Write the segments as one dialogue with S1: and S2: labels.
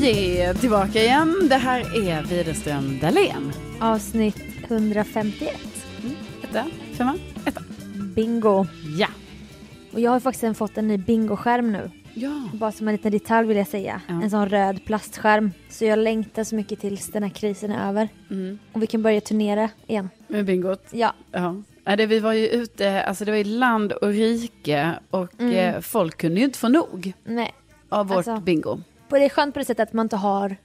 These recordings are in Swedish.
S1: Vi är tillbaka igen. Det här är Widerström Dahlén.
S2: Avsnitt 151.
S1: Etta, femma, etta.
S2: Bingo.
S1: Ja.
S2: Och jag har faktiskt en- fått en ny bingoskärm nu.
S1: Ja.
S2: Bara som en liten detalj vill jag säga.
S1: Ja.
S2: En sån röd plastskärm. Så jag längtar så mycket tills den här krisen är över.
S1: Mm.
S2: Och vi kan börja turnera igen.
S1: Med bingot.
S2: Ja,
S1: Ja. Nej, det, vi var ju ute, alltså det var ju land och rike och
S2: Mm.
S1: eh, folk kunde ju inte få nog
S2: nej.
S1: av vårt
S2: Alltså.
S1: bingo.
S2: På det är skönt på det sättet att man inte har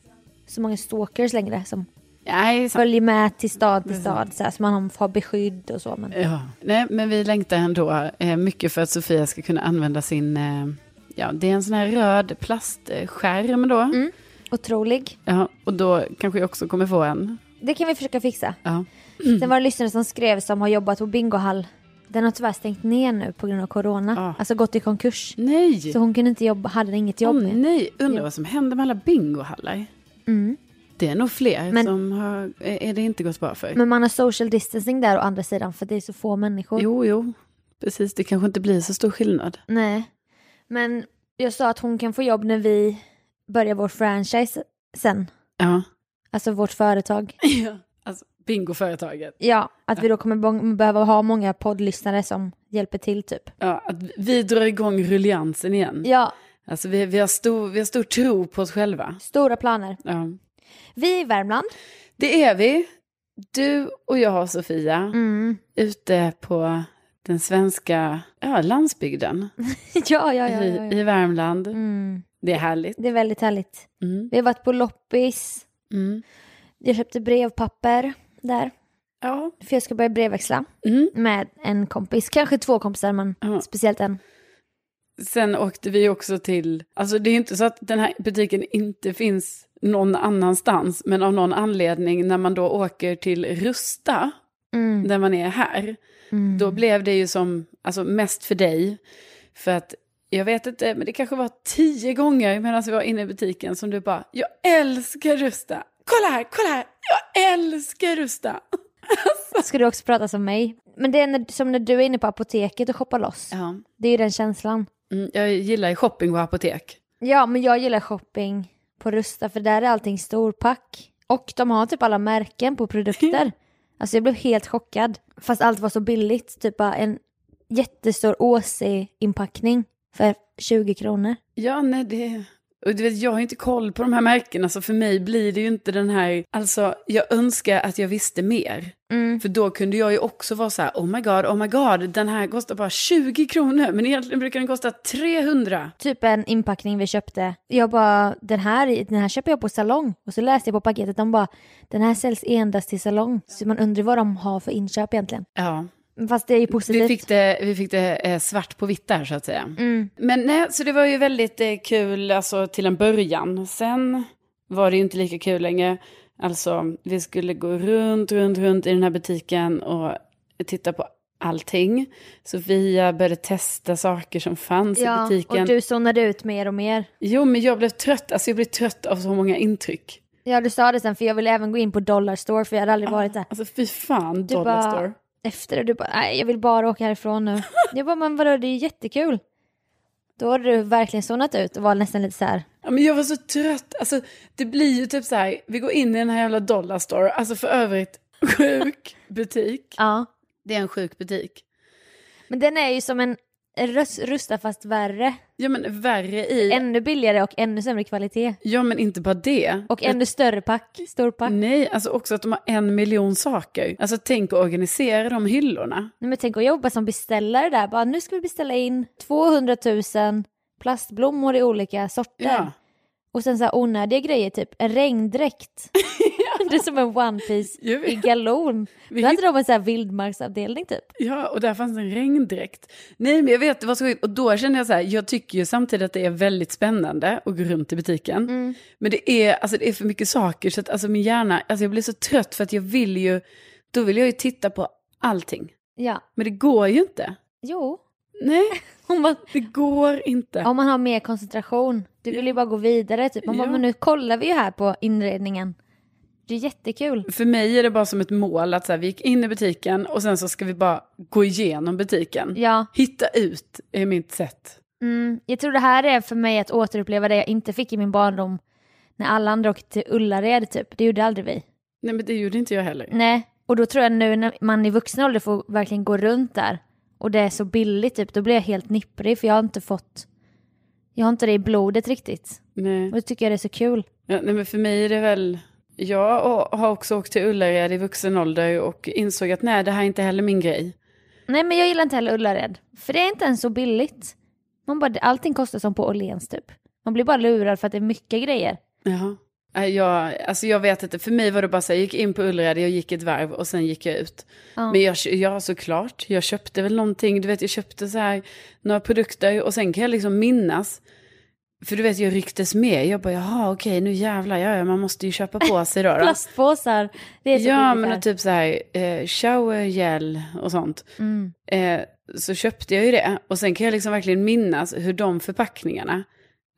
S2: så många stalkers längre som
S1: Nej, sant.
S2: följer med till stad till
S1: Precis.
S2: stad så, här, så man har beskydd och så. Men
S1: Ja. Nej, men vi längtar ändå eh, mycket för att Sofia ska kunna använda sin, eh, ja, det är en sån här röd plastskärm då.
S2: otrolig.
S1: Ja, och då kanske jag också kommer få en.
S2: Det kan vi försöka fixa.
S1: Ja.
S2: Sen var det lyssnare som skrev som har jobbat på bingohall. Den har tyvärr stängt ner nu på grund av corona.
S1: Ah.
S2: Alltså gått i konkurs.
S1: Nej!
S2: Så hon kunde inte jobba, hade inget jobb.
S1: Åh,
S2: med.
S1: nej, undrar
S2: Ja.
S1: vad som händer med alla bingohallar.
S2: Mm.
S1: Det är nog fler
S2: Men-
S1: som har, är är det inte gått bra för.
S2: Men man har social distancing där å andra sidan för det är så få människor.
S1: Jo, jo, precis. Det kanske inte blir så stor skillnad.
S2: Nej. Men jag sa att hon kan få jobb när vi börjar vår franchise sen.
S1: Ja.
S2: Alltså vårt företag.
S1: Alltså, bingoföretaget.
S2: Ja, att vi då kommer bo- behöva ha många poddlyssnare som hjälper till typ.
S1: Ja, att vi drar igång rulliansen igen.
S2: Ja,
S1: Alltså, vi, vi, har stor, vi har stor tro på oss själva.
S2: stora planer.
S1: Ja.
S2: Vi är i Värmland.
S1: Det är vi. Du och jag, Sofia,
S2: Mm.
S1: ute på den svenska ja, landsbygden
S2: ja, ja, ja. ja,
S1: I,
S2: ja.
S1: i Värmland.
S2: Mm.
S1: Det är härligt.
S2: Det är väldigt härligt.
S1: Mm.
S2: Vi har varit på loppis.
S1: Mm.
S2: Jag köpte brevpapper där.
S1: Ja.
S2: För jag ska börja brevväxla
S1: Mm.
S2: med en kompis. Kanske två kompisar, men
S1: Ja.
S2: speciellt en.
S1: Sen åkte vi också till, alltså det är ju inte så att den här butiken inte finns någon annanstans, men av någon anledning när man då åker till Rusta,
S2: Mm.
S1: när man är här,
S2: Mm.
S1: då blev det ju som, alltså mest för dig, för att jag vet inte, men det kanske var tio gånger medan vi var inne i butiken som du bara, jag älskar Rusta, kolla här, kolla här, jag älskar Rusta.
S2: Ska du också prata som mig? Men det är när, som när du är inne på apoteket och shoppar loss.
S1: Ja.
S2: Det är ju den känslan.
S1: Mm, jag gillar ju shopping och apotek.
S2: Ja, men jag gillar shopping på Rusta för där är allting storpack. Och de har typ alla märken på produkter. Alltså jag blev helt chockad. Fast allt var så billigt. Typ bara en jättestor Åse-inpackning för 20 kronor.
S1: Ja, nej, det... Och du vet, jag har ju inte koll på de här märkena, så för mig blir det ju inte den här... Alltså, jag önskar att jag visste mer.
S2: Mm.
S1: För då kunde jag ju också vara så här, oh my god, oh my god, den här kostar bara 20 kronor, men egentligen brukar den kosta 300.
S2: Typ en inpackning vi köpte. Jag bara, den här, den här köper jag på salong. Och så läste jag på paketet, de bara, den här säljs endast till salong. Så man undrar vad de har för inköp egentligen.
S1: Ja,
S2: Fast det är ju positivt.
S1: vi fick det, vi fick det eh, svart på vitt där, så att säga.
S2: Mm.
S1: Men nej, så det var ju väldigt eh, kul alltså, till en början. Sen var det ju inte lika kul längre. Alltså, vi skulle gå runt, runt, runt i den här butiken och titta på allting. Sofia började testa saker som fanns i
S2: Ja,
S1: butiken.
S2: och du zonade ut mer och mer.
S1: Jo, men jag blev trött. Alltså, jag blev trött av så många intryck.
S2: Ja, du sa det sen, för jag ville även gå in på Dollar Store, för jag hade aldrig varit där.
S1: Alltså, fy fan,
S2: Du
S1: Dollar Store.
S2: bara, efter det, du bara, nej, jag vill bara åka härifrån nu. jag bara, men vadå, det är jättekul. Då hade du verkligen zonat ut och var nästan lite så här,
S1: Ja, men jag var så trött. Alltså, det blir ju typ så här, vi går in i den här jävla Dollar Store. Alltså, för övrigt, sjuk butik.
S2: ja.
S1: Det är en sjuk butik.
S2: Men den är ju som en rus- rusta fast värre.
S1: Ja men värre i,
S2: Ännu billigare och ännu sämre kvalitet.
S1: ja men inte bara det.
S2: Och ännu större pack, Mm. storpack.
S1: Nej, alltså också att de har en miljon saker. Alltså tänk att organisera de hyllorna.
S2: Nej, men tänk att jobba som beställare där. Bara, nu ska vi beställa in 200 000 plastblommor i olika sorter.
S1: Ja.
S2: Och sen så här onödiga grejer, typ en regndräkt. Det är som en one piece
S1: Jag vet.
S2: i galon.
S1: Vi
S2: Då hade de en så här vildmarksavdelning typ.
S1: Ja, och där fanns en regndräkt. Nej, men jag vet, det var så skit. Och då kände jag så här, jag tycker ju samtidigt att det är väldigt spännande att gå runt i butiken. Men det är, alltså, det är för mycket saker, så att alltså, min hjärna, alltså, jag blir så trött för att jag vill ju, då vill jag ju titta på allting.
S2: Ja,
S1: Men det går ju inte.
S2: jo.
S1: Nej,
S2: Hon bara,
S1: det går inte.
S2: om man har mer koncentration. Du vill ju bara gå vidare typ. Man bara,
S1: Ja.
S2: men nu kollar vi ju här på inredningen. Det är jättekul.
S1: För mig är det bara som ett mål att så här, vi gick in i butiken och sen så ska vi bara gå igenom butiken.
S2: Ja,
S1: Hitta ut är mitt sätt.
S2: mm, jag tror det här är för mig att återuppleva det jag inte fick i min barndom. När alla andra åkte till Ullared typ, det gjorde aldrig vi.
S1: Nej men det gjorde inte jag heller.
S2: Nej, och då tror jag nu när man i vuxen ålder får verkligen gå runt där och det är så billigt typ, då blir jag helt nipprig för jag har inte fått, jag har inte det i blodet riktigt.
S1: Nej.
S2: Och då tycker jag det är så kul.
S1: Ja, nej men för mig är det väl, jag och- har också åkt till Ullared i vuxen ålder och insåg att nej det här är inte heller min grej.
S2: Nej men jag gillar inte heller Ullared, för det är inte ens så billigt. Man bara, allting kostar som på Åhléns typ. Man blir bara lurad för att det är mycket grejer.
S1: Jaha. Nej, Jag, alltså jag vet inte, för mig var det bara så här, jag gick in på Ullared, jag gick ett varv och sen gick jag ut.
S2: Ja.
S1: Men jag, ja, såklart, jag köpte väl någonting, du vet jag köpte så här några produkter och sen kan jag liksom minnas. För du vet jag rycktes med, jag bara jaha okej nu jävlar, ja, ja man måste ju köpa på sig då. då.
S2: Plastpåsar, det är så
S1: Ja,
S2: billigt
S1: men
S2: här.
S1: och typ så här, eh, showergel och sånt.
S2: Mm.
S1: Eh, så köpte jag ju det. Och sen kan jag liksom verkligen minnas hur de förpackningarna,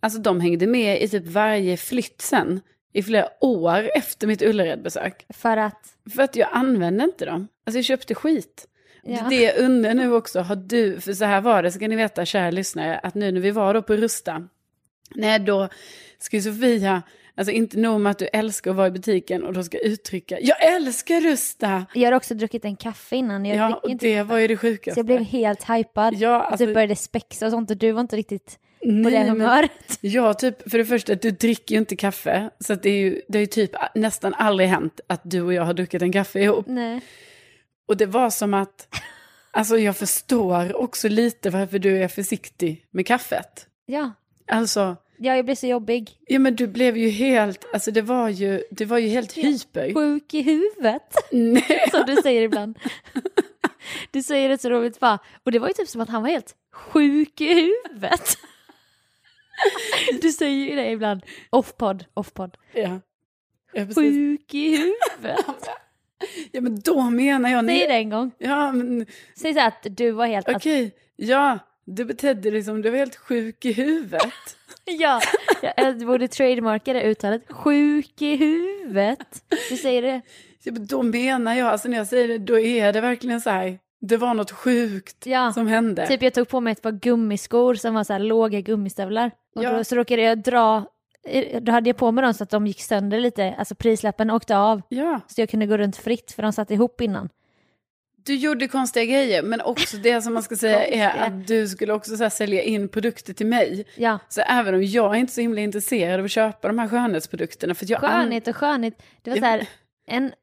S1: alltså de hängde med i typ varje flytt sen. I flera år efter mitt Ullared-besök.
S2: För att,
S1: För att jag använde inte dem. Alltså jag köpte skit.
S2: ja.
S1: Det jag undrar nu också, har du, för så här var det, ska ni veta kära lyssnare, att nu när vi var då på Rusta, nej då ska ju Sofia, alltså inte nog med att du älskar att vara i butiken och då ska uttrycka, jag älskar Rusta!
S2: Jag har också druckit en kaffe innan, jag
S1: Ja,
S2: dricker
S1: och
S2: inte
S1: det var ju det
S2: Så
S1: sjukaste.
S2: jag blev helt hypad.
S1: Ja,
S2: och
S1: alltså-
S2: typ började spexa och sånt och du var inte riktigt på
S1: Nej,
S2: det
S1: men-
S2: humöret.
S1: Ja, typ, för det första, du dricker ju inte kaffe, så att det är ju, det har ju typ nästan aldrig hänt att du och jag har druckit en kaffe ihop.
S2: Nej.
S1: Och det var som att, alltså jag förstår också lite varför du är försiktig med kaffet.
S2: Ja.
S1: Alltså,
S2: ja, jag blev så jobbig.
S1: Ja men du blev ju helt, alltså det var ju, det var ju helt hyper.
S2: Sjuk i huvudet,
S1: Nej.
S2: som du säger ibland. Du säger det så roligt bara. Och det var ju typ som att han var helt sjuk i huvudet. Du säger ju det ibland. Offpod, offpod.
S1: Ja. Ja, precis.
S2: Sjuk i huvudet.
S1: ja men då menar jag,
S2: Säg
S1: nej.
S2: det en gång.
S1: Ja men
S2: Säg så här att du var helt... Att,
S1: okej, ja. Du betedde dig som du var helt sjuk i huvudet.
S2: ja, eh, jag du borde trademarka det uttalet. Sjuk i huvudet. Du säger det.
S1: Ja, men Typ, då menar jag, alltså när jag säger det, då är det verkligen så här, det var något sjukt
S2: Ja.
S1: som hände.
S2: Typ jag tog på mig ett par gummiskor som var så här låga gummistövlar. Och
S1: Ja.
S2: då, så råkade jag dra, eh, då hade jag på mig dem så att de gick sönder lite, alltså prislappen åkte av.
S1: Ja,
S2: Så jag kunde gå runt fritt för de satt ihop innan.
S1: du gjorde konstiga grejer, men också det som man ska säga är att du skulle också så här sälja in produkter till mig.
S2: Ja,
S1: Så även om jag är inte så himla intresserad av att köpa de här skönhetsprodukterna. För att jag an-
S2: skönhet och skönhet. Det var så här en,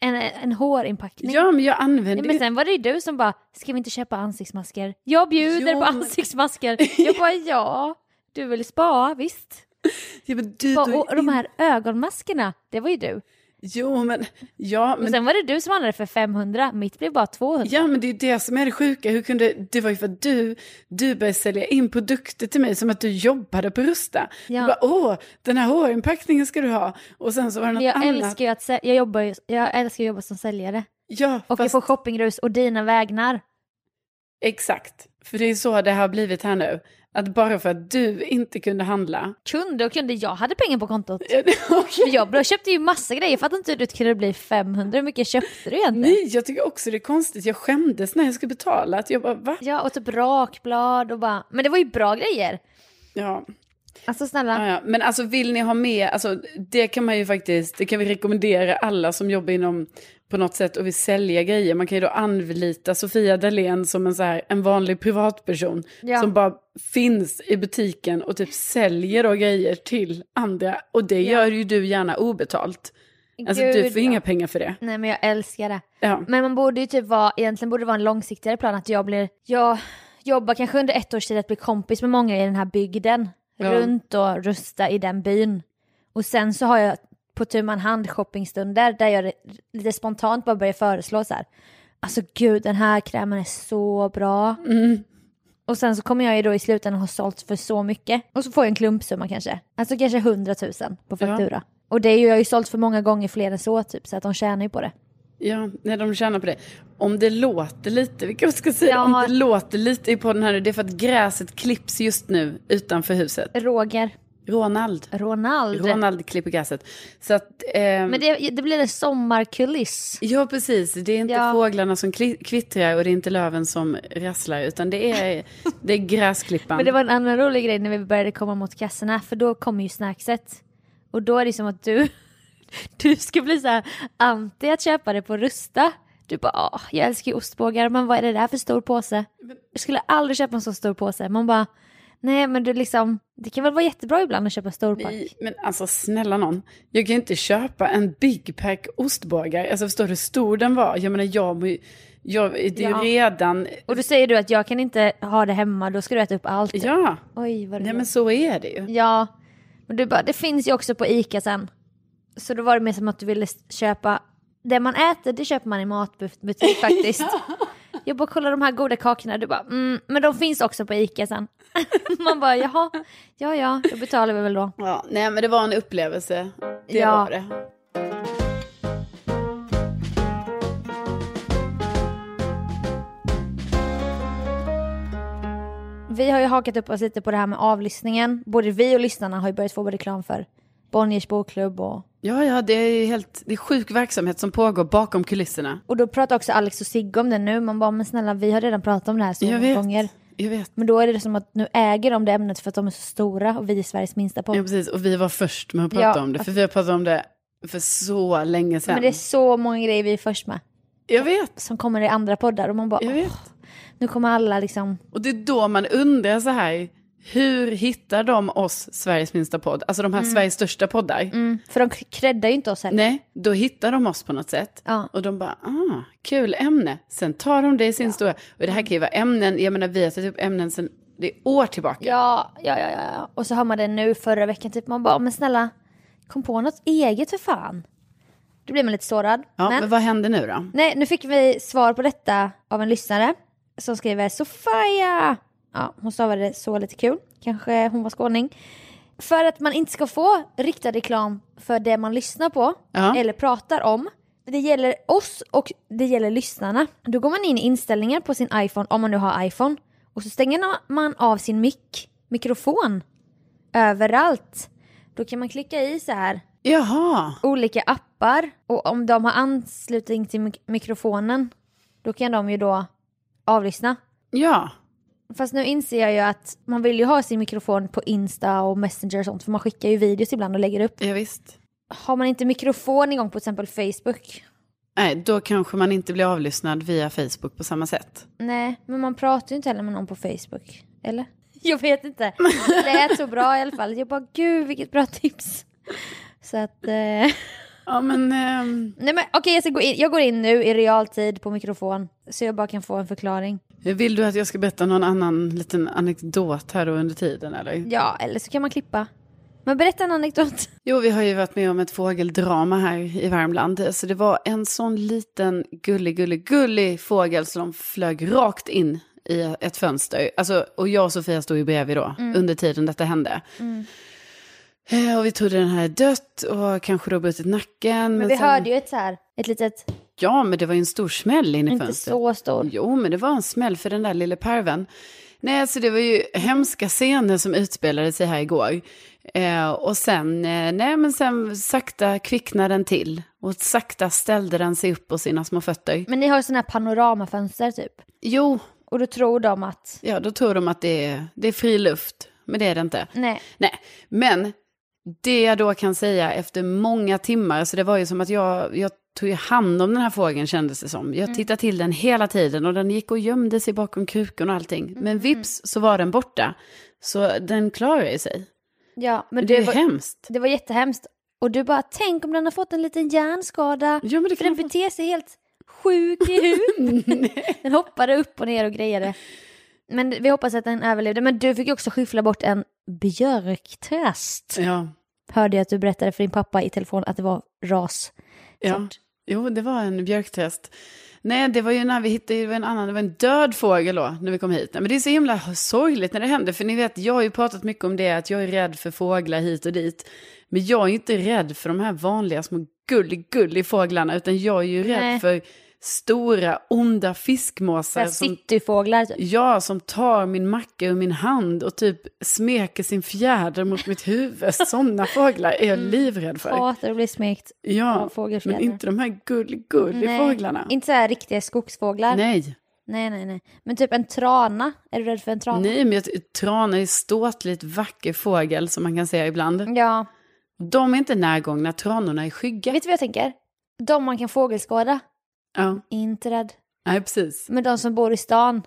S2: en, en hårinpackning.
S1: Ja, men jag använder
S2: Nej,
S1: ju
S2: men sen var det ju du som bara, ska vi inte köpa ansiktsmasker? Jag bjuder
S1: Jo,
S2: på
S1: men-
S2: ansiktsmasker. Jag bara, ja, du vill spa, visst.
S1: Ja, men typ, du,
S2: Bara,
S1: du är
S2: Och, och de
S1: in-
S2: här ögonmaskerna, det var ju du.
S1: Jo, men... Ja,
S2: Och
S1: men...
S2: sen var det du som handlade för 500, mitt blev bara 200.
S1: Ja, men det är ju det som är det sjuka. Hur kunde... Det var ju för att du, du började sälja in produkter till mig som att du jobbade på Rusta.
S2: Ja.
S1: Du bara, åh, den här hårinpackningen ska du ha. Och sen så var det något
S2: Men jag
S1: annat.
S2: älskar ju att sä- jag jobbar ju, jag älskar att jobba som säljare.
S1: Ja,
S2: Och jag
S1: fast...
S2: får shoppingrus och dina vägnar.
S1: exakt. För det är så det har blivit här nu. Att bara för att du inte kunde handla.
S2: Kunde och kunde, jag hade pengar på kontot.
S1: Ja, det- okej.
S2: För jag bra- köpte ju massa grejer, jag fattar inte hur det kunde bli 500, hur mycket köpte du egentligen?
S1: Nej, jag tycker också det är konstigt. Jag skämdes när jag skulle betala. Att jag bara, va?
S2: Ja, och typ rakblad och bara, men det var ju bra grejer.
S1: Ja.
S2: Alltså snälla,
S1: Ja, ja. Men alltså vill ni ha med, alltså, det kan man ju faktiskt, det kan vi rekommendera alla som jobbar inom på något sätt och vill sälja grejer. Man kan ju då anlita Sofia Dalén som en, så här, en vanlig privatperson
S2: Ja.
S1: som bara finns i butiken och typ säljer då grejer till andra. Och det
S2: Ja.
S1: gör ju du gärna obetalt. Alltså du
S2: Gud,
S1: får
S2: ja.
S1: inga pengar för det.
S2: Nej men jag älskar det.
S1: Ja.
S2: Men man borde ju typ vara, egentligen borde det vara en långsiktigare plan att jag blir, jag jobbar kanske under ett års tid att bli kompis med många i den här bygden.
S1: Ja.
S2: Runt och rusta i den byn. Och sen så har jag på tu man hand shoppingstunder där jag lite spontant bara börjar föreslå så här. Alltså gud den här krämen är så bra.
S1: Mm.
S2: Och sen så kommer jag ju då i slutändan ha sålt för så mycket. Och så får jag en klumpsumma kanske. Alltså kanske 100 000 på faktura. Och det är ju, jag har ju sålt för många gånger fler än så typ så att de tjänar ju på det.
S1: Ja, när de tjänar på det. Om det låter lite, vi kanske ska säga,
S2: Jag
S1: om
S2: har-
S1: det låter lite i podden här nu, det är för att gräset klipps just nu utanför huset.
S2: Roger,
S1: Ronald.
S2: Ronald.
S1: Ronald klipper gräset. Så att, eh,
S2: Men det, det blir en sommarkuliss.
S1: Ja, precis. Det är inte
S2: Ja.
S1: fåglarna som kli- kvittrar och det är inte löven som rasslar, utan det är, det är gräsklippan.
S2: Men det var en annan rolig grej när vi började komma mot kassorna, för då kom ju snackset. Och då är det som att du, du ska bli så här anti att köpa det på Rusta. Du bara, "Ah, jag älskar ju ostbågar, men vad är det där för stor påse? Jag skulle aldrig köpa en så stor påse. Man bara, nej men du liksom, det kan väl vara jättebra ibland att köpa storpack.
S1: Nej, men alltså snälla någon. Jag kan ju inte köpa en Big Pack ostbågar. Alltså förstår du hur stor den var? Jag menar jag, må ju- jag det är ju
S2: Ja.
S1: redan...
S2: Och då säger du att jag kan inte ha det hemma, då ska du äta upp allt.
S1: Ja,
S2: Oj,
S1: nej
S2: vad det
S1: men
S2: men...
S1: så är det ju.
S2: Ja, men du bara, det finns ju också på ICA sen. Så då var det mer som att du ville s- köpa, det man äter det köper man i matbutik faktiskt. Jag bara kollar de här goda kakorna, du bara, mm, men de finns också på ICA sen. Man bara, jaha, ja ja, då betalar vi väl då.
S1: Ja, nej men det var en upplevelse. Det
S2: Ja.
S1: var det.
S2: Vi har ju hakat upp oss lite på det här med avlyssningen. Både vi och lyssnarna har ju börjat få reklam för Bonniers bokklubb och
S1: Ja, ja, det är ju helt, det är sjuk verksamhet som pågår bakom kulisserna.
S2: Och då pratar också Alex och Sigge om det nu. Man bara, men snälla vi har redan pratat om det här så
S1: Jag
S2: många
S1: vet.
S2: gånger.
S1: Jag vet.
S2: Men då är det som att nu äger de det ämnet för att de är så stora och vi är Sveriges minsta
S1: Ja,
S2: podd.
S1: precis. Och vi var först med att prata
S2: Ja.
S1: om det. För vi har pratat om det för så länge sedan.
S2: Men det är så många grejer vi är först med
S1: Jag vet,
S2: som kommer i andra poddar och man bara,
S1: jag
S2: åh,
S1: vet.
S2: nu kommer alla liksom.
S1: Och det är då man undrar så här, hur hittar de oss, Sveriges minsta podd? Alltså de här Sveriges största poddar.
S2: Mm. För de creddar ju inte oss heller.
S1: Nej, då hittar de oss på något sätt.
S2: Ja.
S1: Och de bara, ah, kul ämne. Sen tar de det i sin stora... Och det här kan ju vara ämnen, jag menar vi har tagit upp ämnen sedan det är år tillbaka.
S2: Ja, ja, ja, ja, ja. Och så har man det nu förra veckan, typ man bara, men snälla, kom på något eget för fan. Då blir man lite sårad.
S1: Ja, men vad händer nu då?
S2: Nej, nu fick vi svar på detta av en lyssnare som skriver Sofia. Ja, hon stavade det så lite kul. Kanske hon var skåning. För att man inte ska få riktad reklam för det man lyssnar på
S1: Ja.
S2: eller pratar om. Det gäller oss och det gäller lyssnarna. Då går man in i inställningar på sin iPhone, om man nu har iPhone. Och så stänger man av sin mick, mikrofon, överallt. Då kan man klicka i så här
S1: Jaha,
S2: olika appar och om de har anslutning till mik- mikrofonen då kan de ju då avlyssna.
S1: ja.
S2: Fast nu inser jag ju att man vill ju ha sin mikrofon på Insta och Messenger och sånt för man skickar ju videos ibland och lägger upp.
S1: Ja, visst.
S2: Har man inte mikrofon igång på till exempel Facebook?
S1: Nej, då kanske man inte blir avlyssnad via Facebook på samma sätt.
S2: Nej, men man pratar ju inte heller med någon på Facebook. Eller? Jag vet inte. Det lät så bra i alla fall. Jag bara gud vilket bra tips. Så att... Eh...
S1: Ja, men... ehm,
S2: Nej men okej jag, ska gå in. jag går in nu i realtid på mikrofon så jag bara kan få en förklaring.
S1: vill du att jag ska berätta någon annan liten anekdot här då under tiden, eller?
S2: Ja, eller så kan man klippa. Men berätta en anekdot.
S1: Jo, vi har ju varit med om ett fågeldrama här i Värmland. Så det var en sån liten gullig, gullig, gullig fågel som flög rakt in i ett fönster. Alltså, och jag och Sofia stod ju bredvid då,
S2: Mm.
S1: under tiden detta hände. Eh, Och vi trodde den här är dött och kanske då brutit nacken.
S2: Men vi
S1: sen-
S2: hörde ju ett så här, ett litet,
S1: Ja, men det var ju en stor smäll in i
S2: inte
S1: fönstret.
S2: så stor.
S1: Jo, men det var en smäll för den där lille perven. Nej, så det var ju hemska scener som utspelade sig här igår. Eh, och sen, eh, nej men sen sakta kvicknade den till. Och sakta ställde den sig upp på sina små fötter.
S2: Men ni har ju sådana här panoramafönster typ.
S1: Jo,
S2: Och då tror de att,
S1: ja då tror de att det är, det är fri luft. Men det är det inte.
S2: nej,
S1: Nej, men det jag då kan säga efter många timmar, så det var ju som att jag, jag tog ju hand om den här fågeln kändes det som. Jag tittade till den hela tiden och den gick och gömde sig bakom krukan och allting. Men vips så var den borta. Så den klarade ju sig.
S2: ja, men
S1: det är
S2: det
S1: ju
S2: var,
S1: hemskt.
S2: det var jättehemskt. Och du bara, tänk om den har fått en liten hjärnskada.
S1: Ja, men det
S2: För
S1: kan
S2: den
S1: man...
S2: beter sig helt sjuk i huvudet. den hoppade upp och ner och grejade. Men vi hoppas att den överlevde. Men du fick ju också skyffla bort en björktrast.
S1: Ja,
S2: Hörde jag att du berättade för din pappa i telefon att det var ras.
S1: ja.
S2: Sort.
S1: Jo, det var en björktest. Nej, det var ju när vi hittade det var en annan, det var en död fågel då, när vi kom hit. Nej, men det är så himla sorgligt när det händer, för ni vet, jag har ju pratat mycket om det, att jag är rädd för fåglar hit och dit. Men jag är ju inte rädd för de här vanliga små gullig, gullig fåglarna, utan jag är ju rädd
S2: Nej.
S1: för stora, onda
S2: Så
S1: fiskmåsar
S2: här
S1: som,
S2: cityfåglar typ.
S1: ja, som tar min macka ur min hand och typ smeker sin fjäder mot mitt huvud. Sådana fåglar är jag livrädd för.
S2: Hatar att bli smekt av
S1: Ja,
S2: fågelfjädrar.
S1: men inte de här gullig, gullig
S2: Nej,
S1: fåglarna.
S2: Inte så här riktiga skogsfåglar. Nej.
S1: Nej,
S2: nej, nej, Men typ en trana. Är du rädd för en trana? Mm.
S1: nej men jag, ty- trana är en ståtligt vacker fågel som man kan säga ibland.
S2: Ja,
S1: De är inte närgångna, tranorna är skygga.
S2: Vet du vad jag tänker? De man kan fågelskåda,
S1: Ja,
S2: inte rädd.
S1: nej precis.
S2: Men de som bor i stan,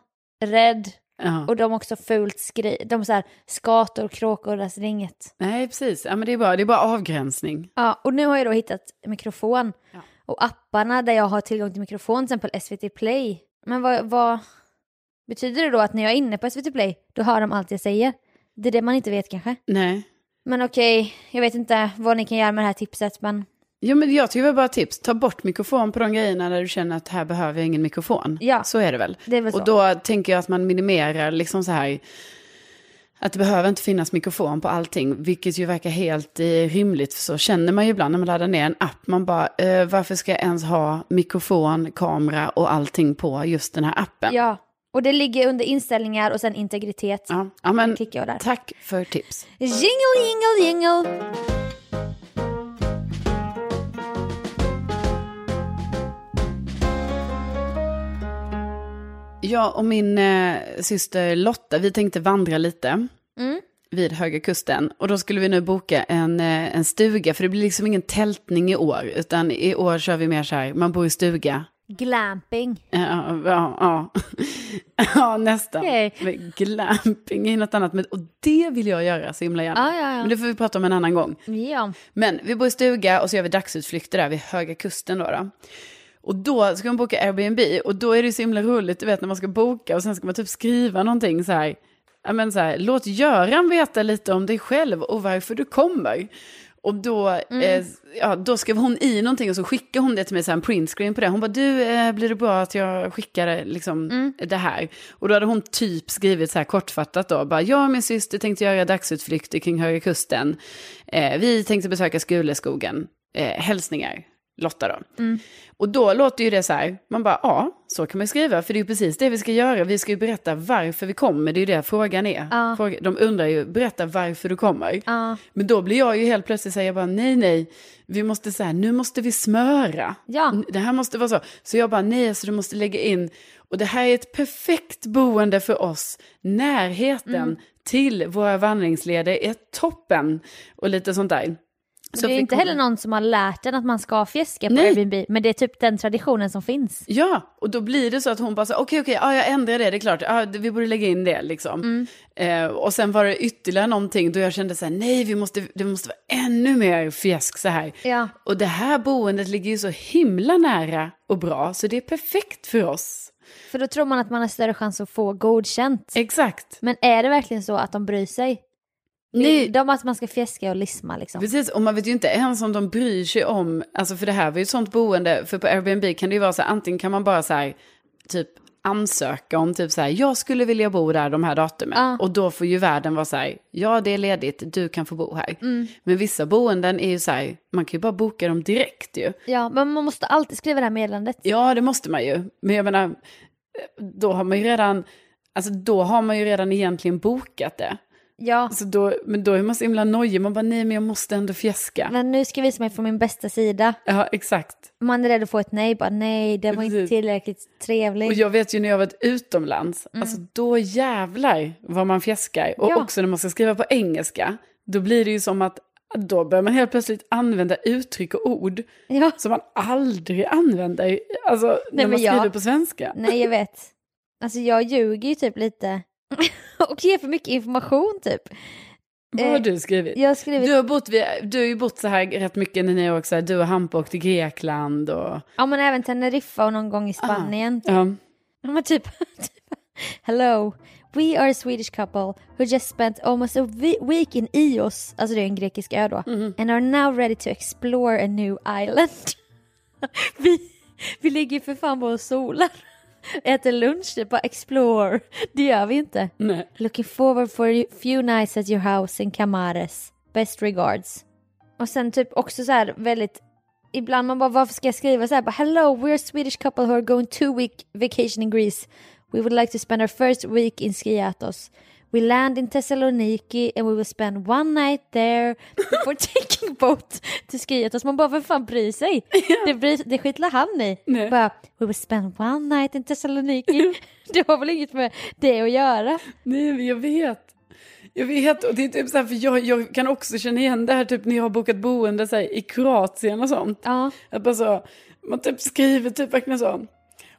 S2: rädd.
S1: Ja.
S2: Och de också fult skri... De så här, skator, kråkor, alltså det är inget.
S1: Nej, precis. Ja, men det är bra. Det är bara avgränsning.
S2: Ja, och nu har jag då hittat mikrofon.
S1: Ja.
S2: Och apparna där jag har tillgång till mikrofon, till exempel SVT Play. Men vad, vad betyder det då att när jag är inne på SVT Play, då hör de allt jag säger? Det är det man inte vet kanske.
S1: Nej.
S2: Men okej, jag vet inte vad ni kan göra med det här tipset, men
S1: Jo, men jag tycker väl bara tips. Ta bort mikrofon på de grejerna där du känner att här behöver jag ingen mikrofon.
S2: Ja.
S1: Så är det väl.
S2: det är väl så.
S1: Och då tänker jag att man minimerar liksom så här. Att det behöver inte finnas mikrofon på allting, vilket ju verkar helt eh, rimligt. För så känner man ju ibland när man laddar ner en app. Man bara, eh, varför ska jag ens ha mikrofon, kamera och allting på just den här appen?
S2: Ja, och det ligger under inställningar och sen integritet.
S1: Ja, ja men
S2: Klickar jag där.
S1: tack för tips.
S2: Jingle, jingle, jingle!
S1: Jag och min eh, syster Lotta, vi tänkte vandra lite
S2: Mm.
S1: vid Höga Kusten. Och då skulle vi nu boka en, eh, en stuga, för det blir liksom ingen tältning i år. Utan i år kör vi mer så här, man bor i stuga.
S2: Glamping.
S1: Ja, ja, ja. ja nästan.
S2: Okej.
S1: Men glamping är något annat. Men, och det vill jag göra så himla gärna.
S2: Ja, Ah, ja,
S1: Men
S2: ja.
S1: det får vi prata om en annan gång.
S2: ja.
S1: Men vi bor i stuga och så gör vi dagsutflykter där vid Höga Kusten. Då, då. Och då ska man boka Airbnb och då är det så himla roligt, du vet när man ska boka och sen ska man typ skriva någonting så här. Ja, men så här låt Göran veta lite om dig själv och varför du kommer. Och då, eh, ja, då skrev hon i någonting och så skickade hon det till mig, så här, en printscreen på det. Hon bara, du, eh, blir det bra att jag skickar liksom, det här? Och då hade hon typ skrivit så här kortfattat då, bara, jag och min syster tänkte göra dagsutflykter kring Höga Kusten. Eh, vi tänkte besöka Skuleskogen. Eh, hälsningar, Lotta då. Och då låter ju det så här, man bara ja, så kan man ju skriva, för det är ju precis det vi ska göra. Vi ska ju berätta varför vi kommer, det är ju det frågan är.
S2: Ja.
S1: Fråga- De undrar ju, berätta varför du kommer.
S2: Ja.
S1: Men då blir jag ju helt plötsligt säga bara nej, nej, vi måste så här, nu måste vi smöra.
S2: Ja.
S1: N- Det här måste vara så. Så jag bara nej, så du måste lägga in, och det här är ett perfekt boende för oss. Närheten
S2: Mm.
S1: till våra vandringsleder är toppen och lite sånt där.
S2: Så det är
S1: fick
S2: inte
S1: hon-
S2: heller någon som har lärt en att man ska fjäska på
S1: Nej.
S2: Airbnb, men det är typ den traditionen som finns.
S1: Ja, och då blir det så att hon bara så okej, okej, ja, jag ändrar det, det är klart, ja, det- vi borde lägga in det liksom. Eh, och sen var det ytterligare någonting då jag kände så här, nej, vi måste, det måste vara ännu mer fjäsk så här.
S2: Ja.
S1: Och det här boendet ligger ju så himla nära och bra, så det är perfekt för oss.
S2: För då tror man att man har större chans att få godkänt.
S1: Exakt.
S2: Men är det verkligen så att de bryr sig?
S1: Nej,
S2: Vill De att man ska fjäska och lisma liksom.
S1: Precis, och man vet ju inte ens om de bryr sig om, alltså för det här var ju ett sånt boende, för på Airbnb kan det ju vara så här, antingen kan man bara så här, typ ansöka om typ så här, jag skulle vilja bo där de här datumen.
S2: Ja.
S1: Och då får ju världen vara så här, ja det är ledigt, du kan få bo här. Men vissa boenden är ju så här, man kan ju bara boka dem direkt ju.
S2: Ja, men man måste alltid skriva det här meddelandet.
S1: Ja, det måste man ju. Men jag menar, då har man ju redan, alltså då har man ju redan egentligen bokat det.
S2: Ja,
S1: Så då, men då är man så himla nojig, man bara nej men jag måste ändå fjäska.
S2: men nu ska jag visa mig från min bästa sida.
S1: Ja, exakt.
S2: Man är rädd att få ett nej, bara nej, det var inte
S1: Precis.
S2: tillräckligt
S1: Och
S2: trevligt.
S1: jag vet ju när jag varit utomlands, alltså då jävlar vad man fjäskar. Och
S2: Mm. Ja.
S1: också när man ska skriva på engelska, då blir det ju som att då börjar man helt plötsligt använda uttryck och ord
S2: Ja.
S1: som man aldrig använder alltså, när man
S2: men jag-
S1: skriver på svenska.
S2: Nej, jag vet. Alltså jag ljuger ju typ lite. och ger för mycket information typ.
S1: Vad har
S2: eh,
S1: du skrivit?
S2: Jag har skrivit,
S1: Du har, bott vid, du har ju bott så här rätt mycket när ni har åkt, så här, du och Hampa åkt till Grekland och...
S2: ja men även Teneriffa och någon gång
S1: Ah.
S2: i Spanien.
S1: Ja,
S2: Ja, Men typ, typ, hello, we are a Swedish couple who just spent almost a we- week in Ios, alltså det är en grekisk ö då, and are now ready to explore a new island. vi, vi ligger ju för fan bara och solar, äter lunch, typ bara explore, det gör vi inte.
S1: nej.
S2: Looking forward for a few nights at your house in Camares. Best regards. Och sen typ också så här väldigt... Ibland man bara, varför ska jag skriva så här? Bara, Hello, we're a Swedish couple who are going two week vacation in Greece. We would like to spend our first week in Skiathos. We land in Thessaloniki and we will spend one night there before taking boat to Skiathos. Man bara, vem fan bryr sig? Det, bryr, det skitlar han i. Bara, we will spend one night in Thessaloniki. det har väl inget med det att göra?
S1: nej, men jag vet. Jag vet, och det är typ så här, för jag, jag kan också känna igen det här typ när jag har bokat boende så här, i Kroatien och sånt.
S2: Ja.
S1: Att bara så, man typ skriver typ verkligen så.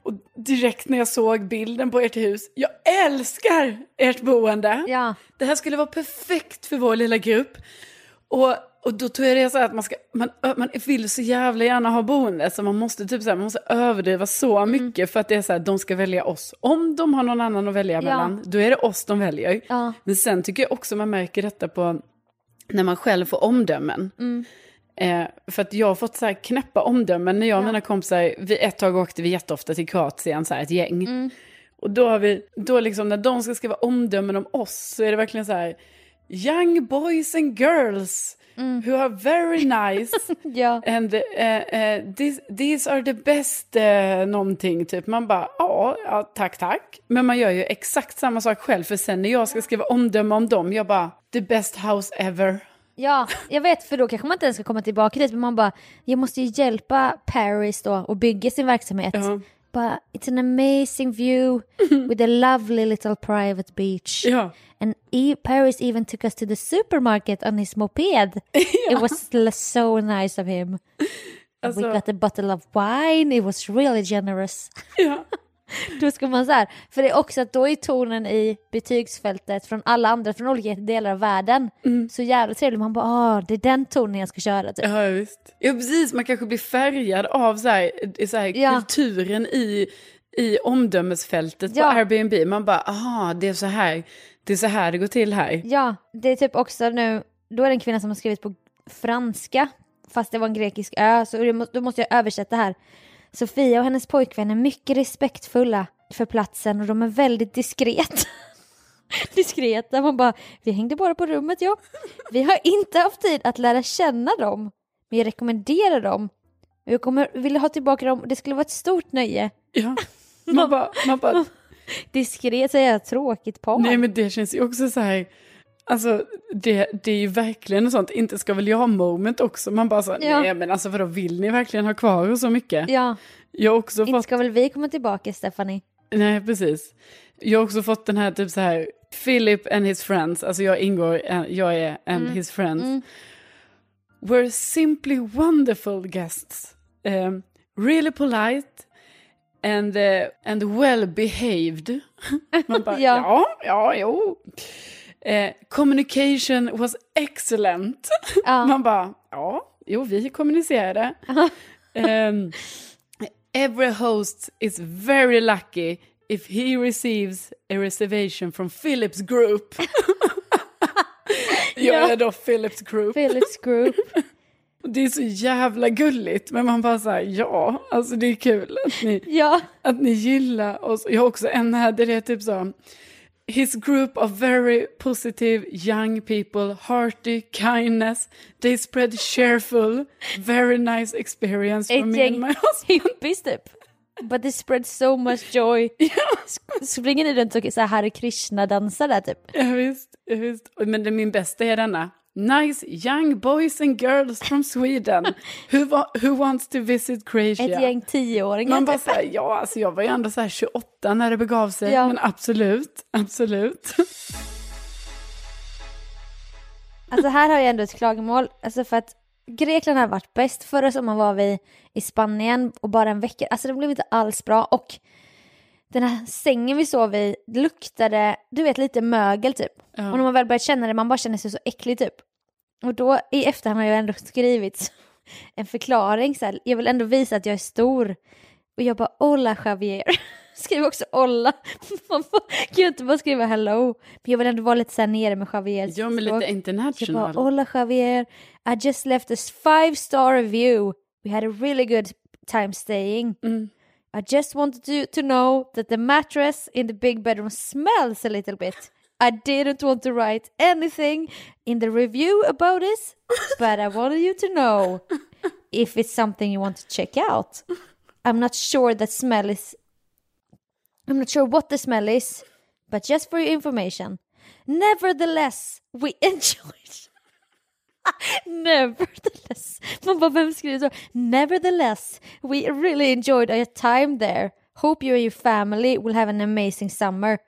S1: Och direkt när jag såg bilden på ert hus, jag älskar ert boende.
S2: Ja.
S1: Det här skulle vara perfekt för vår lilla grupp. Och, och då tror jag det är så här att man, ska, man, ö- man vill så jävla gärna ha boende så man måste, typ så här, man måste överdriva så mycket för att det är så här, de ska välja oss. Om de har någon annan att välja mellan, då är det oss de väljer.
S2: Ja.
S1: Men sen tycker jag också man märker detta på när man själv får omdömen. Eh, för att jag har fått så här knäppa omdömen när jag och mina kompisar, vi ett tag åkte vi jätteofta till Kroatien, så här ett gäng. Och då har vi, då liksom när de ska skriva omdömen om oss så är det verkligen så här, young boys and girls who are very nice.
S2: Ja.
S1: And eh, eh, this, these are the best eh, någonting, typ. Man bara, ja, ja, tack, tack. Men man gör ju exakt samma sak själv, för sen när jag ska skriva omdöme om dem, jag bara, the best house ever.
S2: ja, jag vet för då kanske man inte ens ska komma tillbaka dit men man bara jag måste ju hjälpa Paris då och bygga sin verksamhet.
S1: Ja.
S2: Bara, it's an amazing view with a lovely little private beach.
S1: Ja.
S2: And e- Paris even took us to the supermarket on his moped. It was l- so nice of him. We
S1: Alltså,
S2: got a bottle of wine, it was really generous.
S1: ja.
S2: Då ska man så här, för det är också att då är tonen i betygsfältet från alla andra från olika delar av världen så jävla trevlig. Man bara ah, det är den tonen jag ska köra typ.
S1: Ja, visst. Ja, precis. Man kanske blir färgad av så här, eh, så här,
S2: Ja.
S1: kulturen i, i omdömesfältet
S2: Ja.
S1: på Airbnb. Man bara, aha, det är så här det, är så här det går till här.
S2: Ja, det är typ också nu, då är det en kvinna som har skrivit på franska fast det var en grekisk ö så det må- då måste jag översätta här. Sofia och hennes pojkvän är mycket respektfulla för platsen och de är väldigt diskret. diskreta. Man bara, vi hängde bara på rummet ja. Vi har inte haft tid att lära känna dem. Men jag rekommenderar dem. Jag kommer vilja ha tillbaka dem. Det skulle vara ett stort nöje.
S1: Ja. Man bara, man bara
S2: Diskret säger jag, tråkigt par.
S1: Nej men det känns ju också så här, alltså det, det är ju verkligen ett sånt inte ska väl jag ha moment också. Man bara så,
S2: Ja.
S1: nej men alltså vadå vill ni verkligen ha kvar och så mycket?
S2: Ja,
S1: Jag har också
S2: inte
S1: fått,
S2: ska väl vi komma tillbaka Stephanie?
S1: nej precis. Jag har också fått den här typ så här, Philip and his friends, alltså jag ingår, eh, jag är and
S2: Mm,
S1: his friends. Were simply wonderful guests. Um, really polite and, eh, and well behaved. Man bara,
S2: Ja.
S1: ja, ja, jo. Eh, communication was excellent.
S2: Ja.
S1: Man bara, ja, jo, vi kommunicerade. Ehm, every host is very lucky if he receives a reservation from Philips Group. Jag
S2: Ja.
S1: är då Philips Group.
S2: Philips Group.
S1: Det är så jävla gulligt, men man bara såhär, ja, alltså det är kul att ni
S2: ja.
S1: att ni gillar oss. Jag har också en här där det är typ så. His group of very positive young people, hearty kindness, they spread cheerful, very nice experience for
S2: Ett
S1: me and
S2: gäng
S1: my husband.
S2: hippies typ. But they spread so much joy. S- Springer ni runt och så här Hare Krishna-dansar där typ?
S1: Ja, visst, ja, visst. Och- Men det, min bästa är denna. Nice young boys and girls from Sweden who, wa- who wants to visit Croatia.
S2: Ett gäng tioåringar
S1: Man
S2: typ.
S1: bara såhär, ja alltså jag var ju ändå såhär 28 när det begav sig.
S2: Ja.
S1: Men absolut, absolut.
S2: Alltså här har jag ändå ett klagomål. Alltså för att Grekland har varit bäst. Förra sommaren var vi i Spanien och bara en vecka. Alltså det blev inte alls bra. Och den här sängen vi sov i det luktade, du vet lite mögel typ. Och när man väl börjat känna det, man bara känner sig så äcklig typ. Och då i efterhand har jag ändå skrivit en förklaring så här. Jag vill ändå visa att jag är stor. Och jag bara “Ola Javier”. Skriv också “Ola”. Man bara, kan ju inte bara skriva “Hello”. Men jag vill ändå vara lite så här nere med Javiers
S1: Ja men
S2: språk.
S1: lite
S2: Jag bara,
S1: international.
S2: Hola Javier, I just left this five star review. We had a really good time staying. I just wanted you to know that the mattress in the big bedroom smells a little bit. I didn't want to write anything in the review about this, but I wanted you to know if it's something you want to check out. I'm not sure that smell is. I'm not sure what the smell is, but just for your information. Nevertheless, we enjoyed. Nevertheless. Man bara, vem skriver så? Nevertheless, we really enjoyed our time there. Hope you and your family will have an amazing summer.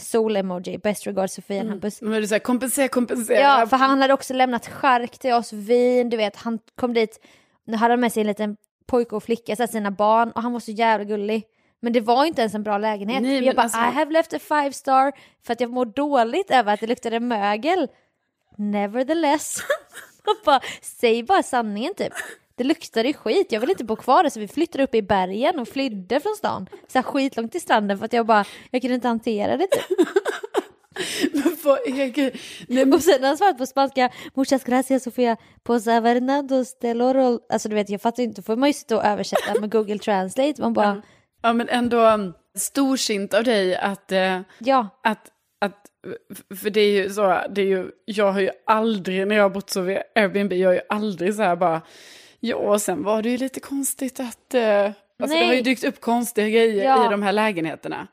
S2: Sol-emoji, best regards Sofia and Hampus.
S1: Men du säger kompensera, kompensera.
S2: Ja, för han hade också lämnat chark till oss, vin, du vet. Han kom dit, nu hade han med sig en liten pojke och flicka, så här, sina barn, och han var så jävla gullig. Men det var inte ens en bra lägenhet.
S1: Nej, men
S2: jag bara,
S1: alltså-
S2: I have left a five star för att jag mår dåligt över att det luktade mögel. Nevertheless. Och bara, Säg bara sanningen typ. Det luktade ju skit, jag vill inte bo kvar där så vi flyttade upp i bergen och flydde från stan. Så här skitlångt till stranden för att jag bara, jag kunde inte hantera det typ.
S1: Men vad är gud. Nej, men,
S2: Och sen har han svarat på spanska, muchas gracias Sofia, posa Fernandos del Oro. Alltså du vet, jag fattar ju inte, då får man ju sitta och översätta med Google Translate. Man bara,
S1: ja, men ändå um, storsint av dig att, eh,
S2: ja,
S1: att, att f- för det är ju så, det är ju, jag har ju aldrig, när jag har bott så vid Airbnb, jag har ju aldrig så här bara, ja, och sen var det ju lite konstigt att, eh, alltså det
S2: Nej.
S1: har ju dykt upp konstiga grejer
S2: Ja.
S1: i de här lägenheterna.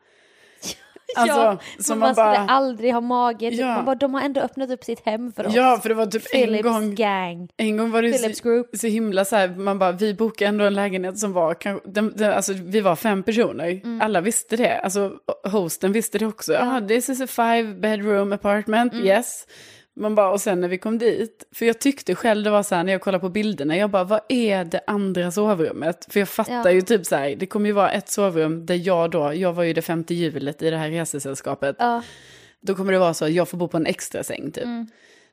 S1: Alltså,
S2: ja.
S1: som
S2: men
S1: man
S2: man
S1: bara-
S2: skulle aldrig ha mage. Typ.
S1: Ja.
S2: Man bara, de har ändå öppnat upp sitt hem för oss.
S1: Ja, för det var typ en
S2: Philips
S1: gång,
S2: gang.
S1: en gång var det ju
S2: Philips
S1: så,
S2: group.
S1: så himla så här, man bara, vi bokade ändå en lägenhet som var, kanske, den, den, alltså vi var fem personer,
S2: Mm.
S1: alla visste det, alltså hosten visste det också, ja. this is a five bedroom apartment,
S2: Mm.
S1: yes. Man bara, och sen när vi kom dit, för jag tyckte själv det var så här när jag kollade på bilderna, jag bara, vad är det andra sovrummet? För jag fattar
S2: Ja.
S1: ju typ så här, det kommer ju vara ett sovrum där jag då, jag var ju det femte hjulet i det här resesällskapet,
S2: Ja.
S1: då kommer det vara så att jag får bo på en extra säng typ.
S2: Mm.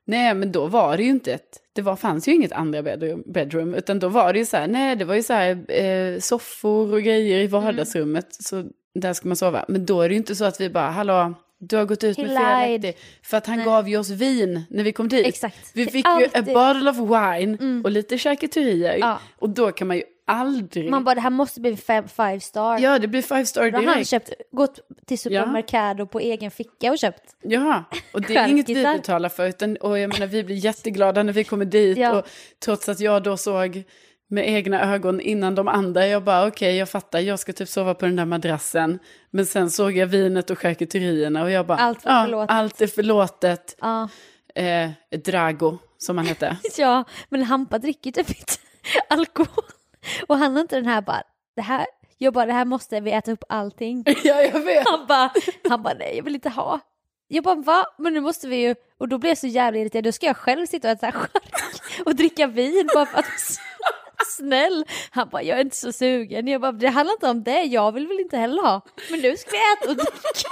S1: Nej, men då var det ju inte ett, det var, fanns ju inget andra bedroom, bedroom, utan då var det ju så här, nej, det var ju så här eh, soffor och grejer
S2: Mm.
S1: i vardagsrummet, så där ska man sova. Men då är det ju inte så att vi bara, hallå, du har gått ut
S2: He
S1: med fel
S2: lied.
S1: rättig. För att han gav ju oss vin när vi kom dit.
S2: Exakt.
S1: Vi
S2: Det är
S1: fick ju a
S2: alltid-
S1: bottle of wine och lite charkuterier.
S2: Ja.
S1: Och då kan man ju aldrig...
S2: Man bara, det här måste bli fem, five star.
S1: Ja, det blir five star
S2: Då har han
S1: direkt.
S2: köpt, gått till Supermercado på egen ficka och köpt.
S1: Ja, och det är inget vi
S2: Skärkisar.
S1: betalar för. Utan, och jag menar, vi blir jätteglada när vi kommer dit.
S2: Ja.
S1: Och trots att jag då såg med egna ögon innan de andra, jag bara okej, jag fattar, jag ska typ sova på den där madrassen. Men sen såg jag vinet och charkuterierna och jag bara,
S2: Allt var
S1: ja,
S2: förlåtet.
S1: allt är förlåtet.
S2: Ja.
S1: Eh, Drago, som han hette.
S2: Ja, men Hampa dricker typ inte alkohol. Och han har inte den här bara, det här, jag bara det här måste vi äta upp allting.
S1: ja, jag vet.
S2: Han bara, han bara nej jag vill inte ha. Jag bara va? Men nu måste vi ju, och då blir jag så jävla irriterad, då ska jag själv sitta och äta chark och dricka vin bara för att snäll. Han bara jag är inte så sugen. Jag bara det handlar inte om det, jag vill väl inte heller ha. Men nu ska jag äta och dricka.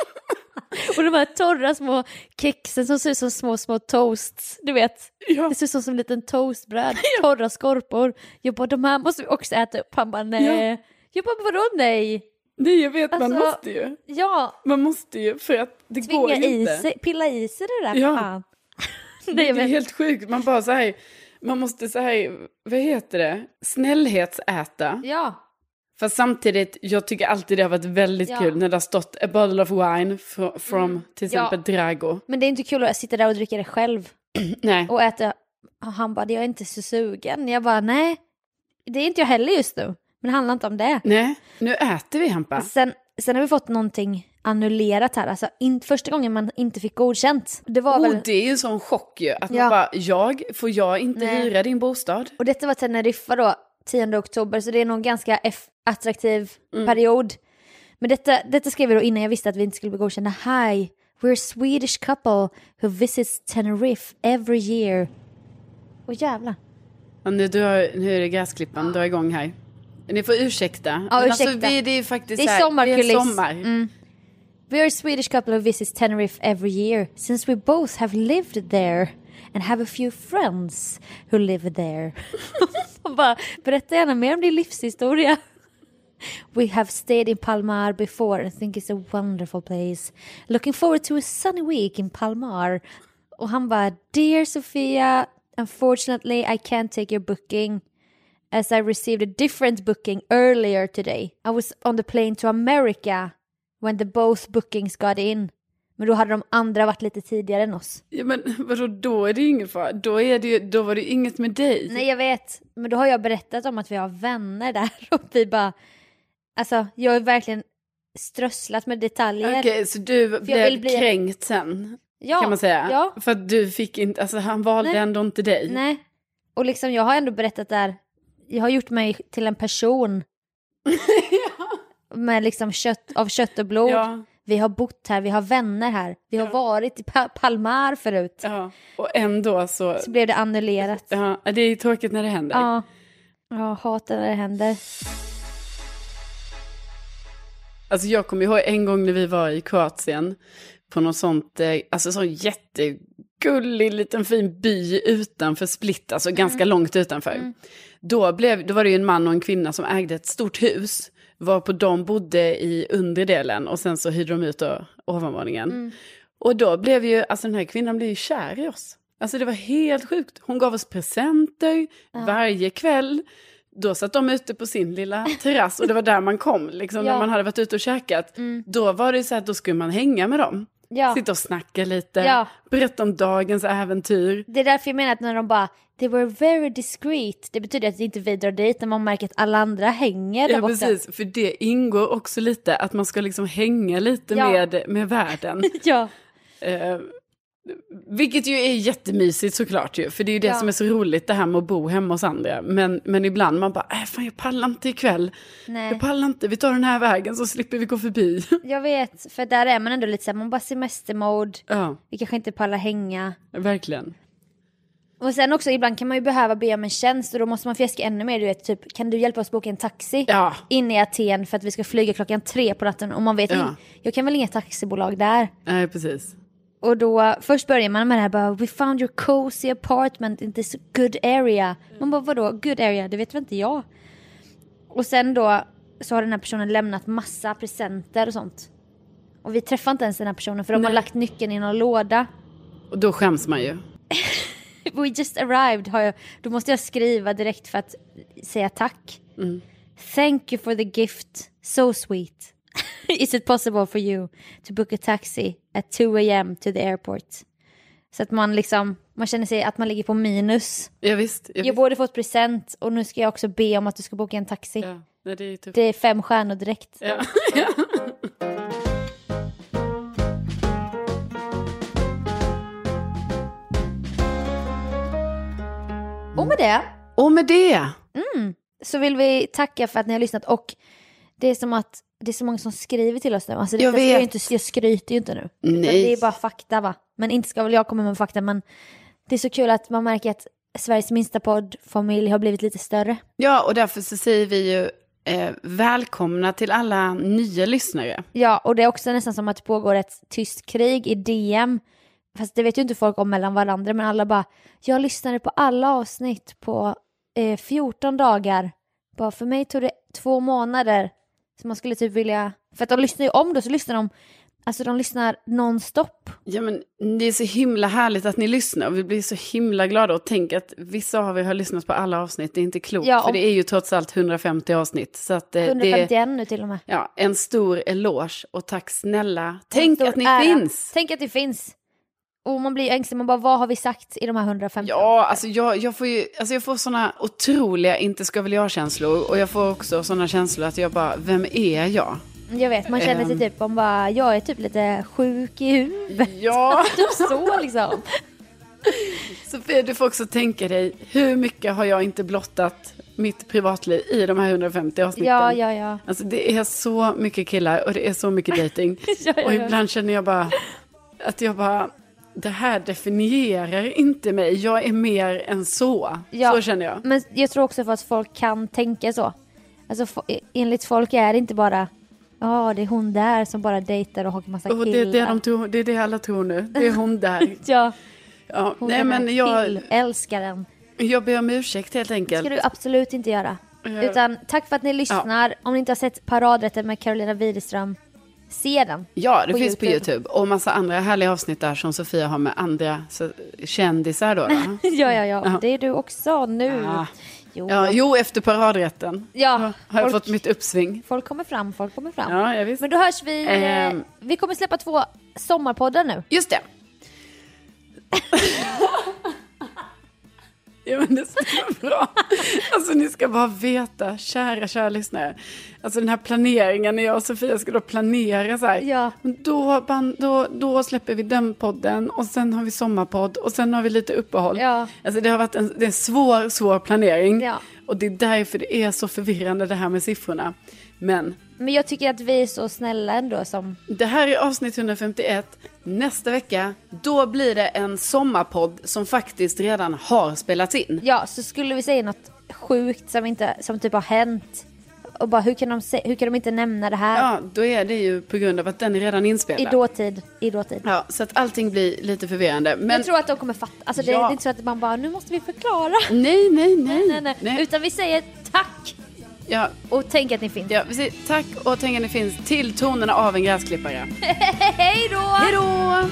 S2: Och de här torra små kexen som ser ut som små små toasts, du vet.
S1: Ja.
S2: Det ser ut som, som en liten toastbröd, torra skorpor. Jag bara de här måste vi också äta upp. Han bara nej. Jag bara vadå nej?
S1: Nej, jag vet, man
S2: Alltså-
S1: måste ju.
S2: Ja,
S1: Man måste ju, för att det går
S2: Tvinga
S1: ju
S2: i
S1: inte.
S2: sig, pilla i sig det där
S1: Ja.
S2: fan. Nej,
S1: Det är
S2: men,
S1: helt sjukt, man bara så här, man måste så här, vad heter det, snällhetsäta.
S2: ja.
S1: Fast samtidigt, jag tycker alltid det har varit väldigt
S2: Ja. Mm.
S1: kul när det har stått a bottle of wine fr- from till
S2: Ja.
S1: exempel Drago.
S2: men det är inte kul att sitta där och dricka det själv
S1: Nej,
S2: och äta. Och han bara, jag är inte så sugen. Jag bara, nej. Det är inte jag heller just nu. Men det handlar inte om det.
S1: nej, nu äter vi Hampa.
S2: Sen, sen har vi fått någonting annullerat här. Alltså in, första gången man inte fick godkänt. Det var
S1: Och
S2: väl,
S1: Oh, det är ju en sån chock ju, att man
S2: Ja.
S1: bara, jag, får jag inte
S2: Nej.
S1: hyra din bostad?
S2: och detta var Teneriffa då, 10 oktober. Så det är nog en ganska eff- attraktiv period. Men detta, detta skrev vi då innan jag visste att vi inte skulle bli godkända. Hi, we're a Swedish couple who visits Tenerife every year. Åh jävlar.
S1: Ja, nu, drar, nu är det gräsklippan, drar igång här. Ni får ursäkta.
S2: Ja,
S1: Men Alltså,
S2: ursäkta.
S1: vi, det är faktiskt
S2: Det är
S1: så här, Det
S2: sommarkuliss. Mm.
S1: är sommar.
S2: We're a Swedish couple who visits Tenerife every year since we both have lived there and have a few friends who live there. Och bara, Berätta gärna mer om din livshistoria. We have stayed in Palmar before and think it's a wonderful place. Looking forward to a sunny week in Palmar. Och han bara, Dear Sofia, unfortunately I can't take your booking as I received a different booking earlier today. I was on the plane to America when the both bookings got in. Men då hade de andra varit lite tidigare än oss.
S1: Ja, men vadå, då är det ju ingen fara. Då, är det ju, då var det ju inget med dig.
S2: Nej jag vet, men då har jag berättat om att vi har vänner där och vi bara... Alltså jag har verkligen strösslat med detaljer.
S1: Okej, så du
S2: vill
S1: blev
S2: bli-
S1: kränkt sen,
S2: ja,
S1: kan man säga.
S2: Ja,
S1: För att du fick inte, alltså han valde
S2: Nej.
S1: ändå inte dig.
S2: nej. Och liksom jag har ändå berättat där, jag har gjort mig till en person. Med liksom kött, av kött och blod.
S1: Ja.
S2: vi har bott här, vi har vänner här, vi har
S1: Ja.
S2: varit i pa- Palmar förut.
S1: Ja, och ändå så...
S2: Så blev det annullerat.
S1: Ja, det är ju tråkigt när det händer.
S2: Ja. ja, hatar när det händer.
S1: Alltså jag kommer ihåg en gång när vi var i Kroatien på något sånt, eh, alltså sån jättegullig liten fin by utanför Split, alltså ganska långt utanför. Då, blev, då var det ju en man och en kvinna som ägde ett stort hus, varpå de bodde i underdelen och sen så hyrde de ut då ovanvåningen. Och då blev ju, alltså den här kvinnan blev ju kär i oss. Alltså det var helt sjukt. Hon gav oss presenter varje kväll. Då satt de ute på sin lilla terrass och det var där man kom, liksom, när
S2: Ja.
S1: man hade varit ute och käkat.
S2: Mm.
S1: Då var det ju så att då skulle man hänga med dem.
S2: Ja.
S1: Sitta och snacka lite,
S2: Ja.
S1: berätta om dagens äventyr.
S2: Det är därför jag menar att när de bara “they were very discreet”, det betyder att inte vi drar dit när man märker att alla andra hänger där
S1: Ja,
S2: borta.
S1: precis. För det ingår också lite, att man ska liksom hänga lite
S2: Ja.
S1: med, med världen.
S2: Ja,
S1: Eh, vilket ju är jättemysigt såklart ju, för det är ju det
S2: Ja.
S1: som är så roligt det här med att bo hemma hos andra. Men, men ibland man bara, äh, fan jag pallar inte ikväll,
S2: nej.
S1: jag pallar inte, vi tar den här vägen så slipper vi gå förbi.
S2: Jag vet, för där är man ändå lite såhär, man bara semestermode,
S1: ja,
S2: vi kanske inte pallar hänga.
S1: verkligen.
S2: Och sen också, ibland kan man ju behöva be om en tjänst och då måste man fjäska ännu mer, du vet, typ kan du hjälpa oss boka en taxi?
S1: Ja,
S2: In i Aten för att vi ska flyga klockan tre på natten och man vet
S1: Ja.
S2: inte, jag kan väl inga taxibolag där.
S1: nej precis.
S2: Och då, först börjar man med det här bara, we found your cozy apartment in this good area. Man bara, vadå good area? Det vet väl inte jag? Och sen då så har den här personen lämnat massa presenter och sånt. Och vi träffar inte ens den här personen för de har
S1: Nej.
S2: lagt nyckeln i någon låda.
S1: Och då skäms man ju.
S2: We just arrived har jag, då måste jag skriva direkt för att säga tack.
S1: Mm.
S2: Thank you for the gift, so sweet. Is it possible for you to book a taxi at 2 am to the airport? Så att man liksom, man känner sig att man ligger på minus.
S1: Ja, visst. Ja,
S2: Jag
S1: visst.
S2: borde fått present och nu ska jag också be om att du ska boka en taxi.
S1: Ja, nej, det är ju tufft.
S2: Det är fem stjärnor direkt.
S1: Ja.
S2: Och med det
S1: Och med det,
S2: så vill vi tacka för att ni har lyssnat och det är som att det är så många som skriver till oss nu. Alltså, det,
S1: Jag
S2: jag, ska ju
S1: vet.
S2: inte, jag skryter ju inte nu.
S1: Nej.
S2: Utan Det är bara fakta va? Men inte ska väl jag komma med fakta men det är så kul att man märker att Sveriges minsta poddfamilj har blivit lite större.
S1: ja och därför så säger vi ju eh, välkomna till alla nya lyssnare.
S2: Ja, och det är också nästan som att det pågår ett tyst krig i DM. Fast det vet ju inte folk om mellan varandra, men alla bara “jag lyssnade på alla avsnitt på eh, 14 dagar”. Bara för mig tog det två månader. Så man skulle typ vilja... För att de lyssnar ju om då, så lyssnar de... Alltså de lyssnar nonstop.
S1: Ja, men det är så himla härligt att ni lyssnar och vi blir så himla glada och tänk att vissa av er har lyssnat på alla avsnitt, det är inte klokt
S2: Ja,
S1: för
S2: om-
S1: det är ju trots allt 150 avsnitt. Så att, eh, det är
S2: 151 nu till och med.
S1: ja, en stor eloge och tack snälla. Tänk
S2: Stor
S1: att ni
S2: ära.
S1: finns!
S2: Tänk att det finns! Och man blir ju ängslig, man bara vad har vi sagt i de här 150?
S1: Ja, alltså jag, jag får ju, alltså jag får sådana otroliga inte ska väl jag-känslor och jag får också sådana känslor att jag bara, vem är jag?
S2: Jag vet, man känner sig
S1: Ehm.
S2: typ, man bara jag är typ lite sjuk i huvudet.
S1: Ja,
S2: Typ så liksom.
S1: Sofia du får också tänka dig, hur mycket har jag inte blottat mitt privatliv i de här 150 avsnitten?
S2: Ja, ja, ja.
S1: Alltså det är så mycket killar och det är så mycket dating.
S2: Ja, ja,
S1: Och
S2: ja.
S1: ibland känner jag bara att jag bara, det här definierar inte mig. Jag är mer än så.
S2: Ja.
S1: Så känner jag.
S2: Men jag tror också för att folk kan tänka så. Alltså fo- enligt folk är det inte bara ja det är hon där som bara dejtar och har massa
S1: Och det,
S2: killar.
S1: är det, de tror, det är det alla tror nu. Det är hon där.
S2: Ja,
S1: Ja.
S2: hon
S1: Nej,
S2: är
S1: men jag,
S2: till älskaren.
S1: jag ber om ursäkt helt
S2: Det ska
S1: enkelt.
S2: du absolut inte göra.
S1: Eh,
S2: Utan tack för att ni lyssnar. Om ni inte har sett Paradrätten med Carolina Widerström, se den.
S1: Ja, det
S2: på
S1: finns på
S2: YouTube.
S1: YouTube. Och massa andra härliga avsnitt där som Sofia har med andra så, kändisar då. då.
S2: ja, ja, ja.
S1: Ja.
S2: Det är du också nu.
S1: Ah.
S2: Jo.
S1: Ja, jo, efter paradrätten
S2: Ja,
S1: har jag
S2: folk-
S1: fått mitt uppsving.
S2: Folk kommer fram, folk kommer fram.
S1: Ja, jag visst.
S2: Men då hörs vi. eh,
S1: Ehm.
S2: Vi kommer släppa två sommarpoddar nu.
S1: Just det. ja men det stämmer bra. Alltså ni ska bara veta, kära, kära lyssnare. Alltså den här planeringen när jag och Sofia ska då planera så här.
S2: Ja.
S1: Men Då, ban- då, då släpper vi den podden och sen har vi sommarpodd och sen har vi lite uppehåll.
S2: Ja.
S1: Alltså det har varit en, det är en svår, svår planering.
S2: Ja.
S1: Och det är därför det är så förvirrande det här med siffrorna. Men
S2: Men jag tycker att vi är så snälla ändå som...
S1: Det här är avsnitt 151. Nästa vecka, då blir det en sommarpodd som faktiskt redan har spelats in.
S2: Ja, så skulle vi säga något sjukt som, inte, som typ har hänt. Och bara hur kan de, se, hur kan de inte nämna det här?
S1: Ja, då är det ju på grund av att den är redan
S2: I
S1: inspelad.
S2: dåtid. I dåtid.
S1: Ja, så att allting blir lite förvirrande. Men
S2: Jag tror att de kommer fatta. Alltså det,
S1: Ja.
S2: det är inte så att man bara nu måste vi förklara.
S1: nej, nej, nej.
S2: Nej, nej. Utan vi säger tack
S1: Ja,
S2: och tänk att ni finns.
S1: ja, vi säger tack och tänk att ni finns till tonerna av en gräsklippare.
S2: Hej då!
S1: Hej då!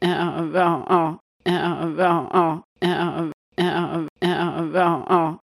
S1: Ja, ja, ja, ja, ja.